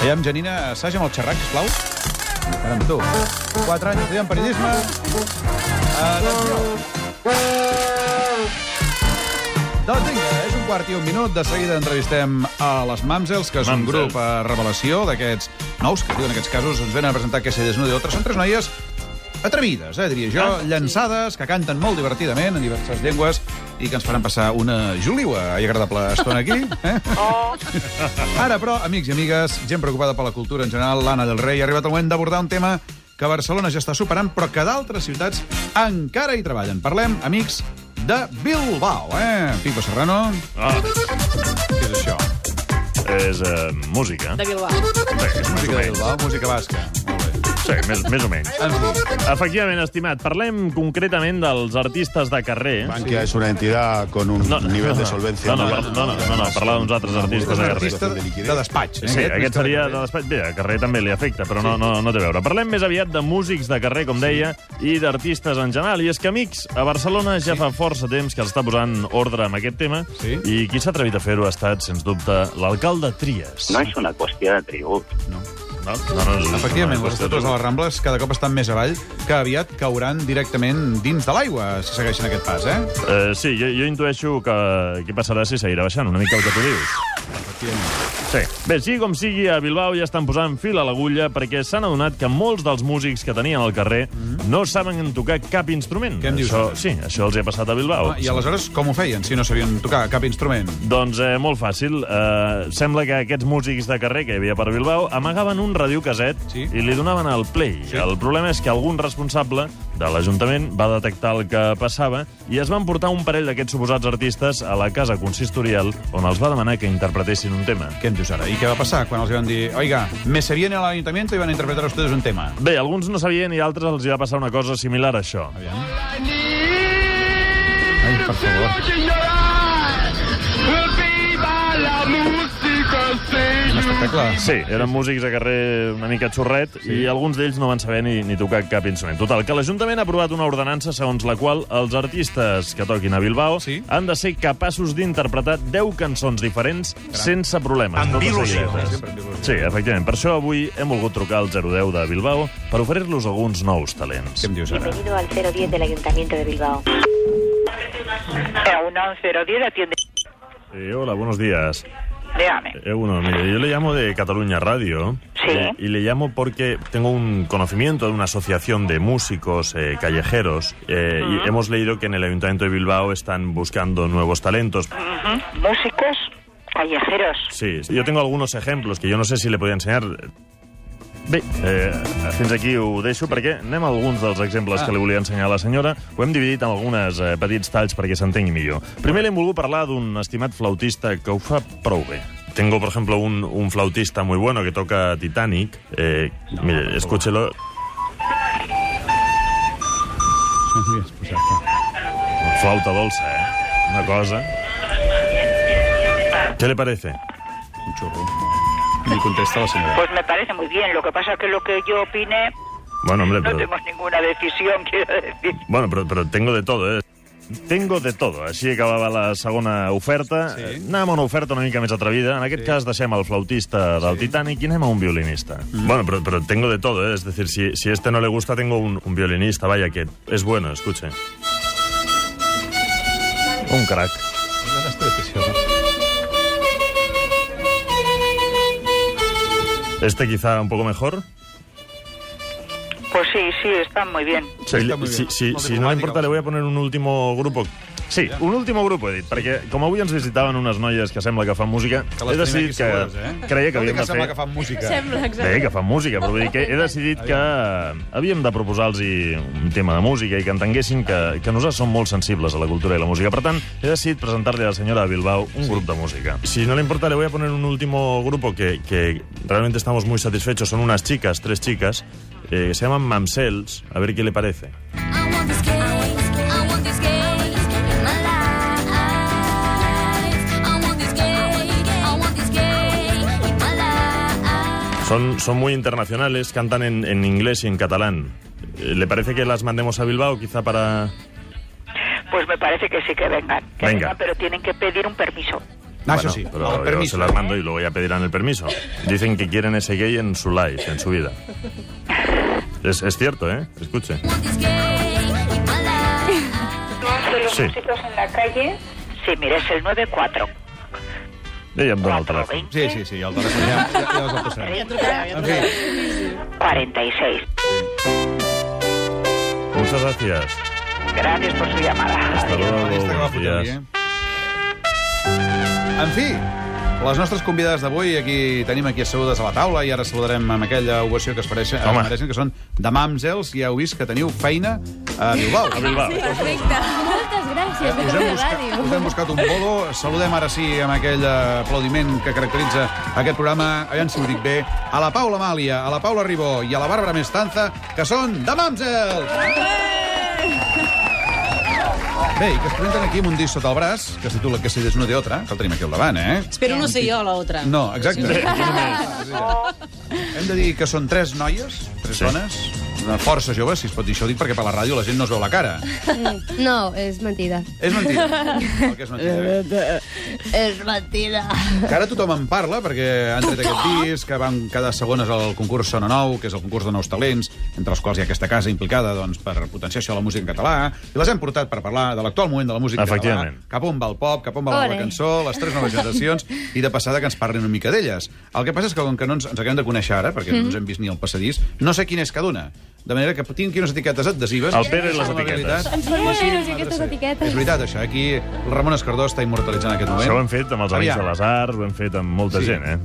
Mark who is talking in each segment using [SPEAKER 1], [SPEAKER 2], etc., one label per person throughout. [SPEAKER 1] Aviam, Janina, assaja amb el xerrac, sisplau. Ara amb tu. 4 anys estudiant periodisme. Atenció. Doncs vinga, és un quart i un minut. De seguida entrevistem a les Mamsels, que és un
[SPEAKER 2] Mamsels.
[SPEAKER 1] grup a revelació d'aquests nous que diuen en aquests casos ens venen a presentar que se desnuda i altres. Són tres noies atrevides, eh, diria jo, llançades, que canten molt divertidament en diverses llengües i que ens faran passar una juliua eh, i agradable estona aquí. Eh? Ara, però, amics i amigues, gent preocupada per la cultura en general, l'Anna del Rei, ha arribat el moment d'abordar un tema que Barcelona ja està superant, però que d'altres ciutats encara hi treballen. Parlem, amics, de Bilbao, eh? Pico Serrano,
[SPEAKER 2] Ah,
[SPEAKER 1] què és això?
[SPEAKER 2] és eh, música.
[SPEAKER 3] de Bilbao.
[SPEAKER 2] Sí, és més o
[SPEAKER 1] Música de
[SPEAKER 2] menys.
[SPEAKER 1] Bilbao, música basca. Molt bé.
[SPEAKER 2] Sí, més, més o menys.
[SPEAKER 1] En fi,
[SPEAKER 2] Efectivament, estimat, parlem concretament dels artistes de carrer.
[SPEAKER 4] Bankia es una entidad con un nivel de solvencia.
[SPEAKER 2] No, no,
[SPEAKER 4] muy
[SPEAKER 2] per-
[SPEAKER 4] alto.
[SPEAKER 2] no, no, no, no parlar d'uns altres artistes
[SPEAKER 1] és
[SPEAKER 2] de
[SPEAKER 1] un
[SPEAKER 2] carrer.
[SPEAKER 1] artista de despatx. eh,
[SPEAKER 2] Sí, aquest
[SPEAKER 1] més que de
[SPEAKER 2] seria de
[SPEAKER 1] carrer.
[SPEAKER 2] l'espai... Bé, a carrer també li afecta, però no, no, no té a veure. Parlem més aviat de músics de carrer, com deia, i d'artistes en general. I és que, amics, a Barcelona ja fa força temps que s'està posant ordre amb aquest tema,
[SPEAKER 1] Sí.
[SPEAKER 2] i qui s'ha atrevit a fer-ho ha estat, sens dubte, l'alcalde Trias.
[SPEAKER 5] No és una qüestió de tribut.
[SPEAKER 2] No, no, no, no,
[SPEAKER 1] Efectivament,
[SPEAKER 2] no,
[SPEAKER 1] les estàtues de les Rambles cada cop estan més avall, que aviat cauran directament dins de l'aigua, si segueixen aquest pas, eh?
[SPEAKER 2] Eh, sí, jo, jo intueixo que què passarà si seguirà baixant, una mica el que tu dius. Sí. Bé, sigui com sigui, a Bilbao ja estan posant fil a l'agulla perquè s'han adonat que molts dels músics que tenien al carrer no saben tocar cap instrument.
[SPEAKER 1] Mm. Què em dius,
[SPEAKER 2] Això,
[SPEAKER 1] ara?
[SPEAKER 2] sí, això els hi ha passat a Bilbao.
[SPEAKER 1] Ah, I aleshores, com ho feien, si no sabien tocar cap instrument?
[SPEAKER 2] Doncs eh, molt fàcil. Eh, sembla que aquests músics de carrer que hi havia per Bilbao amagaven un radiocaset
[SPEAKER 1] Sí.
[SPEAKER 2] i li donaven el play.
[SPEAKER 1] Sí.
[SPEAKER 2] Sí. El problema és que algun responsable de l'Ajuntament va detectar el que passava i es van portar un parell d'aquests suposats artistes a la casa consistorial on els va demanar que interpretessin un tema.
[SPEAKER 1] Què em dius ara? I què va passar quan els van dir oiga, me se viene al ayuntamiento y van a interpretar ustedes un tema?
[SPEAKER 2] Bé, alguns no sabien i altres els hi va passar una cosa similar a això.
[SPEAKER 1] Aviam. Ai, per favor.
[SPEAKER 6] ¡Viva la música,
[SPEAKER 1] Un espectacle.
[SPEAKER 2] Sí, eren músics a carrer una mica xorret sí. i alguns d'ells no van saber ni, ni tocar cap instrument. Total, que l'Ajuntament ha aprovat una ordenança segons la qual els artistes que toquin a Bilbao
[SPEAKER 1] Sí.
[SPEAKER 2] han de ser capaços d'interpretar 10 cançons diferents sense problemes.
[SPEAKER 7] Amb
[SPEAKER 2] totes
[SPEAKER 7] il·lusió.
[SPEAKER 2] seguides.
[SPEAKER 1] Sempre amb il·lusió.
[SPEAKER 2] Sí, efectivament. Per això avui hem volgut trucar al 010 de Bilbao per oferir-los alguns nous talents.
[SPEAKER 1] Què em dius ara?
[SPEAKER 8] Bienvenido al 010 del Ayuntamiento de Bilbao.
[SPEAKER 9] Eh, 11010 atiende.
[SPEAKER 2] Eh, hola, buenos días.
[SPEAKER 9] Déjame.
[SPEAKER 2] Eh, bueno, mire, yo le llamo de Cataluña Radio.
[SPEAKER 9] Sí.
[SPEAKER 2] Eh, y le llamo porque tengo un conocimiento de una asociación de músicos eh, callejeros. eh, Y hemos leído que en el Ayuntamiento de Bilbao están buscando nuevos talentos.
[SPEAKER 9] Ujú. Músicos callejeros.
[SPEAKER 2] Sí, yo tengo algunos ejemplos que yo no sé si le podía enseñar. Bé, eh, fins aquí ho deixo perquè anem a alguns dels exemples
[SPEAKER 1] Ah.
[SPEAKER 2] que li volia ensenyar a la senyora. Ho hem dividit en algunes eh, petits talls perquè s'entengui millor. Primer li hem volgut parlar d'un estimat flautista que ho fa prou bé. Tengo, por ejemplo, un, un flautista muy bueno que toca Titanic. Eh, mire, escúchelo. Flauta dolça, eh? Una cosa... ¿Qué le parece?
[SPEAKER 1] Un xurro. Li contesta la senyora.
[SPEAKER 9] Pues me parece muy bien. Lo que pasa es que lo que yo opine
[SPEAKER 2] Bueno, hombre,
[SPEAKER 9] no
[SPEAKER 2] pero...
[SPEAKER 9] tengo ninguna decisión, quiero decir.
[SPEAKER 2] Bueno, però, però tengo de todo, eh? Tengo de todo. Així acabava la segona oferta.
[SPEAKER 1] Sí.
[SPEAKER 2] Sí. Anem a una oferta una mica més atrevida. En aquest sí. cas deixem el flautista del sí. Titanic i anem a un violinista. Mm. Bueno, però, però tengo de todo, eh? Es decir, si, si este no le gusta, tengo un, un violinista, vaya, que es bueno, escuche. Un crack. Este quizá un poco mejor.
[SPEAKER 9] Pues sí, sí, están muy bien.
[SPEAKER 2] Sí,
[SPEAKER 1] Està molt bé.
[SPEAKER 2] si, si,
[SPEAKER 1] Molt
[SPEAKER 2] si no
[SPEAKER 1] diplomàtica,
[SPEAKER 2] importa, le voy a poner un último grupo. Sí, un último grupo, he dit, perquè com avui ens visitaven unes noies que sembla que fan música,
[SPEAKER 1] Que les
[SPEAKER 2] he
[SPEAKER 1] tenim
[SPEAKER 2] decidit
[SPEAKER 1] aquí
[SPEAKER 2] que...
[SPEAKER 1] segures, eh?
[SPEAKER 2] Creia que
[SPEAKER 1] Tot i
[SPEAKER 2] havíem de fer...
[SPEAKER 1] sembla que fan música.
[SPEAKER 3] Sembla,
[SPEAKER 2] Bé,
[SPEAKER 3] exacte.
[SPEAKER 2] que fan música, però vull dir que he decidit que havíem de proposar-los un tema de música i que entenguessin que, que nosaltres som molt sensibles a la cultura i la música. Per tant, he decidit presentar-li a la senyora de Bilbao un grup de música. Si no le importa, le voy a poner un último grupo que, que realmente estamos muy satisfechos. Son unas chicas, tres chicas, eh, se llaman Mamsells. A ver qué le parece. Son, son muy internacionales, cantan en, en inglés y en catalán. Eh, ¿Le parece que las mandemos a Bilbao quizá para...?
[SPEAKER 9] Pues me parece que sí que vengan. Que
[SPEAKER 2] Venga.
[SPEAKER 9] vengan, pero tienen que pedir un permiso.
[SPEAKER 1] Ah, eso sí,
[SPEAKER 2] pero
[SPEAKER 1] el
[SPEAKER 2] yo
[SPEAKER 1] permiso.
[SPEAKER 2] se las mando y luego ya pedirán el permiso. Dicen que quieren ese gay en su life, en su vida. Es, es cierto, ¿eh? Escuche. Sí.
[SPEAKER 8] en la calle.
[SPEAKER 9] Sí, mira, es el 94.
[SPEAKER 2] Ella em dona el
[SPEAKER 9] Cuatro,
[SPEAKER 2] telèfon.
[SPEAKER 1] Sí, sí, sí, el telèfon ja, ja, ja us el passarem. En fi,
[SPEAKER 9] 46.
[SPEAKER 2] Muchas gracias.
[SPEAKER 9] Gracias por su llamada.
[SPEAKER 2] Hasta luego.
[SPEAKER 1] aquesta que va
[SPEAKER 2] buenos
[SPEAKER 1] fotre
[SPEAKER 2] días.
[SPEAKER 1] eh? En fi, les nostres convidades d'avui, aquí tenim aquí assegudes a la taula i ara saludarem amb aquella ovació que es mereixen,
[SPEAKER 2] Home.
[SPEAKER 1] es mereixen que són de Mamsels, ja heu vist que teniu feina a Bilbao.
[SPEAKER 2] A Bilbao.
[SPEAKER 3] Perfecte. Moltes gràcies per
[SPEAKER 1] Us hem,
[SPEAKER 3] la
[SPEAKER 1] buscat, us
[SPEAKER 3] ràdio.
[SPEAKER 1] hem buscat un bolo. Saludem ara sí amb aquell eh, aplaudiment que caracteritza aquest programa, aviam si ho dic bé, a la Paula Amàlia, a la Paula Ribó i a la Bàrbara Mestanza, que són de Mamsels! Bé, i que es presenten aquí amb un disc sota el braç, que es titula Que si des una de otra, que el tenim aquí al davant, eh?
[SPEAKER 5] Espero no ser jo la otra.
[SPEAKER 1] No, exacte. Hem de dir que són tres noies, tres
[SPEAKER 2] Sí.
[SPEAKER 1] sí. dones, una força jove, si es pot dir això, ho dic perquè per la ràdio la gent no es veu la cara.
[SPEAKER 7] No, és mentida.
[SPEAKER 1] És mentida. El que és mentida. eh?
[SPEAKER 5] És mentida.
[SPEAKER 1] Que ara tothom en parla, perquè han tret aquest disc, que van quedar segones al concurs Sona Nou, que és el concurs de nous talents, entre els quals hi ha aquesta casa implicada doncs, per potenciar això de la música en català, i les hem portat per parlar de l'actual moment de la música en català,
[SPEAKER 2] Efectivament.
[SPEAKER 1] cap on va el pop, cap on va la nova
[SPEAKER 7] Ole.
[SPEAKER 1] cançó, les tres noves generacions, i de passada que ens parlin una mica d'elles. El que passa és que com que no ens, ens acabem de conèixer ara, perquè
[SPEAKER 5] Mm.
[SPEAKER 1] no ens hem vist ni el passadís, no sé quina és cada una. De manera que tinguin unes etiquetes adhesives...
[SPEAKER 2] El Pere i les
[SPEAKER 1] Amb
[SPEAKER 2] etiquetes.
[SPEAKER 1] habilitat.
[SPEAKER 3] Ens fan molt il·lusió aquestes
[SPEAKER 1] És
[SPEAKER 3] etiquetes.
[SPEAKER 1] veritat, això. Aquí el Ramon Escardó està immortalitzant aquest moment.
[SPEAKER 2] Això ho hem fet amb els Amics
[SPEAKER 1] Aviam.
[SPEAKER 2] de les Arts, ho hem fet amb molta
[SPEAKER 1] Sí.
[SPEAKER 2] gent, eh?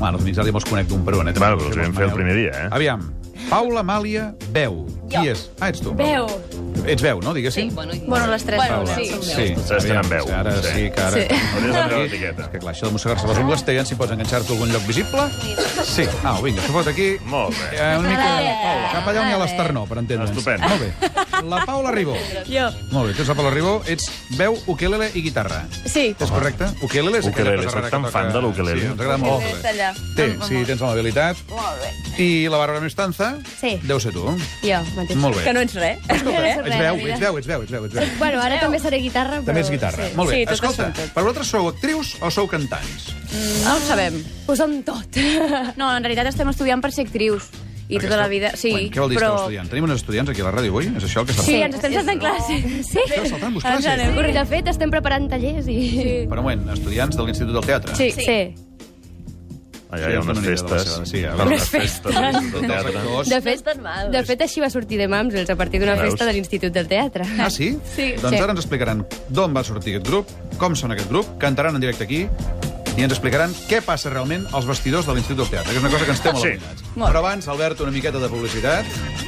[SPEAKER 1] Bueno, doncs els amics ara ja me'ls conec d'un per un, eh? també.
[SPEAKER 2] Bueno, però els vam fer el primer dia, eh?
[SPEAKER 1] Aviam. Paula Amàlia Beu. Qui és? Ah, ets tu.
[SPEAKER 3] Veu.
[SPEAKER 1] Ets Beu, no? Diguéssim.
[SPEAKER 5] Bueno,
[SPEAKER 7] les tres
[SPEAKER 5] Bueno,
[SPEAKER 1] Paula.
[SPEAKER 5] sí.
[SPEAKER 1] sí.
[SPEAKER 2] Tres tenen
[SPEAKER 1] aviam,
[SPEAKER 2] veu.
[SPEAKER 1] sí, Ara
[SPEAKER 2] Sí.
[SPEAKER 1] sí, que ara...
[SPEAKER 7] Sí.
[SPEAKER 2] Hauries de treure
[SPEAKER 1] Aquí-
[SPEAKER 2] l'etiqueta.
[SPEAKER 1] És que clar, això de mossegar-se les ungles, té, ja si pots enganxar-te a algun lloc visible. Sí. Au, vinga, s'ho fot aquí.
[SPEAKER 2] Molt bé.
[SPEAKER 1] Eh, una mica
[SPEAKER 7] Vale.
[SPEAKER 1] cap allà on hi ha
[SPEAKER 7] Vale.
[SPEAKER 1] l'esternó, per entendre'ns.
[SPEAKER 2] Estupendo.
[SPEAKER 1] Molt bé. La Paula Ribó.
[SPEAKER 3] Jo.
[SPEAKER 1] Molt bé, tu ets la Paula Ribó, ets veu, ukelele i guitarra.
[SPEAKER 3] Sí.
[SPEAKER 1] És correcte? Ukelele és aquella
[SPEAKER 2] Ukelele,
[SPEAKER 1] cosa rara
[SPEAKER 2] soc tan
[SPEAKER 1] que toca-
[SPEAKER 2] fan de l'ukelele.
[SPEAKER 1] Sí, ens agrada molt. l'ukelele. Té, sí, tens la mobilitat.
[SPEAKER 5] Molt bé.
[SPEAKER 1] I la Bàrbara Mestanza?
[SPEAKER 7] Sí.
[SPEAKER 1] Deu ser tu.
[SPEAKER 7] Jo, mateix.
[SPEAKER 1] Molt bé.
[SPEAKER 5] Que no ets res.
[SPEAKER 1] Escolta,
[SPEAKER 7] res,
[SPEAKER 1] ets veu,
[SPEAKER 7] mira.
[SPEAKER 1] ets veu, ets veu, ets veu, ets veu.
[SPEAKER 7] Bueno, ara també seré guitarra, però...
[SPEAKER 1] També ets guitarra.
[SPEAKER 7] Sí.
[SPEAKER 1] Molt bé.
[SPEAKER 5] Sí, totes
[SPEAKER 1] Escolta,
[SPEAKER 5] són tot.
[SPEAKER 1] per vosaltres sou actrius o sou cantants?
[SPEAKER 5] No ho sabem.
[SPEAKER 7] Ho som tot.
[SPEAKER 3] No, en realitat estem estudiant per ser actrius. I
[SPEAKER 1] Perquè
[SPEAKER 3] tota la
[SPEAKER 1] esteu-
[SPEAKER 3] vida... Sí,
[SPEAKER 1] Bueno, què vol dir
[SPEAKER 3] però...
[SPEAKER 1] esteu estudiant? Tenim unes estudiants aquí a la ràdio avui? És això el que està
[SPEAKER 3] Sí,
[SPEAKER 1] passant?
[SPEAKER 3] ens estem saltant classe. Sí.
[SPEAKER 1] Esteu saltant vos
[SPEAKER 3] Ens
[SPEAKER 1] classes?
[SPEAKER 3] anem.
[SPEAKER 7] Bueno, de fet, estem preparant tallers i...
[SPEAKER 1] Per un moment, estudiants de l'Institut del Teatre?
[SPEAKER 7] Sí. sí.
[SPEAKER 2] Allà hi ha unes
[SPEAKER 1] Sí, és una idea de la
[SPEAKER 2] festes.
[SPEAKER 1] seva, sí, a veure.
[SPEAKER 2] Unes festes.
[SPEAKER 1] Dels actors.
[SPEAKER 7] De fet, de fet, així va sortir de Mamsels, a partir d'una
[SPEAKER 2] Veus?
[SPEAKER 7] festa de l'Institut del Teatre.
[SPEAKER 1] Ah, sí?
[SPEAKER 7] Sí.
[SPEAKER 1] Doncs
[SPEAKER 7] Sí.
[SPEAKER 1] ara ens explicaran d'on va sortir aquest grup, com són aquest grup, cantaran en directe aquí i ens explicaran què passa realment als vestidors de l'Institut del Teatre, que és una cosa que ens té molt
[SPEAKER 2] Sí.
[SPEAKER 1] sí. Però abans, Albert, una miqueta de publicitat.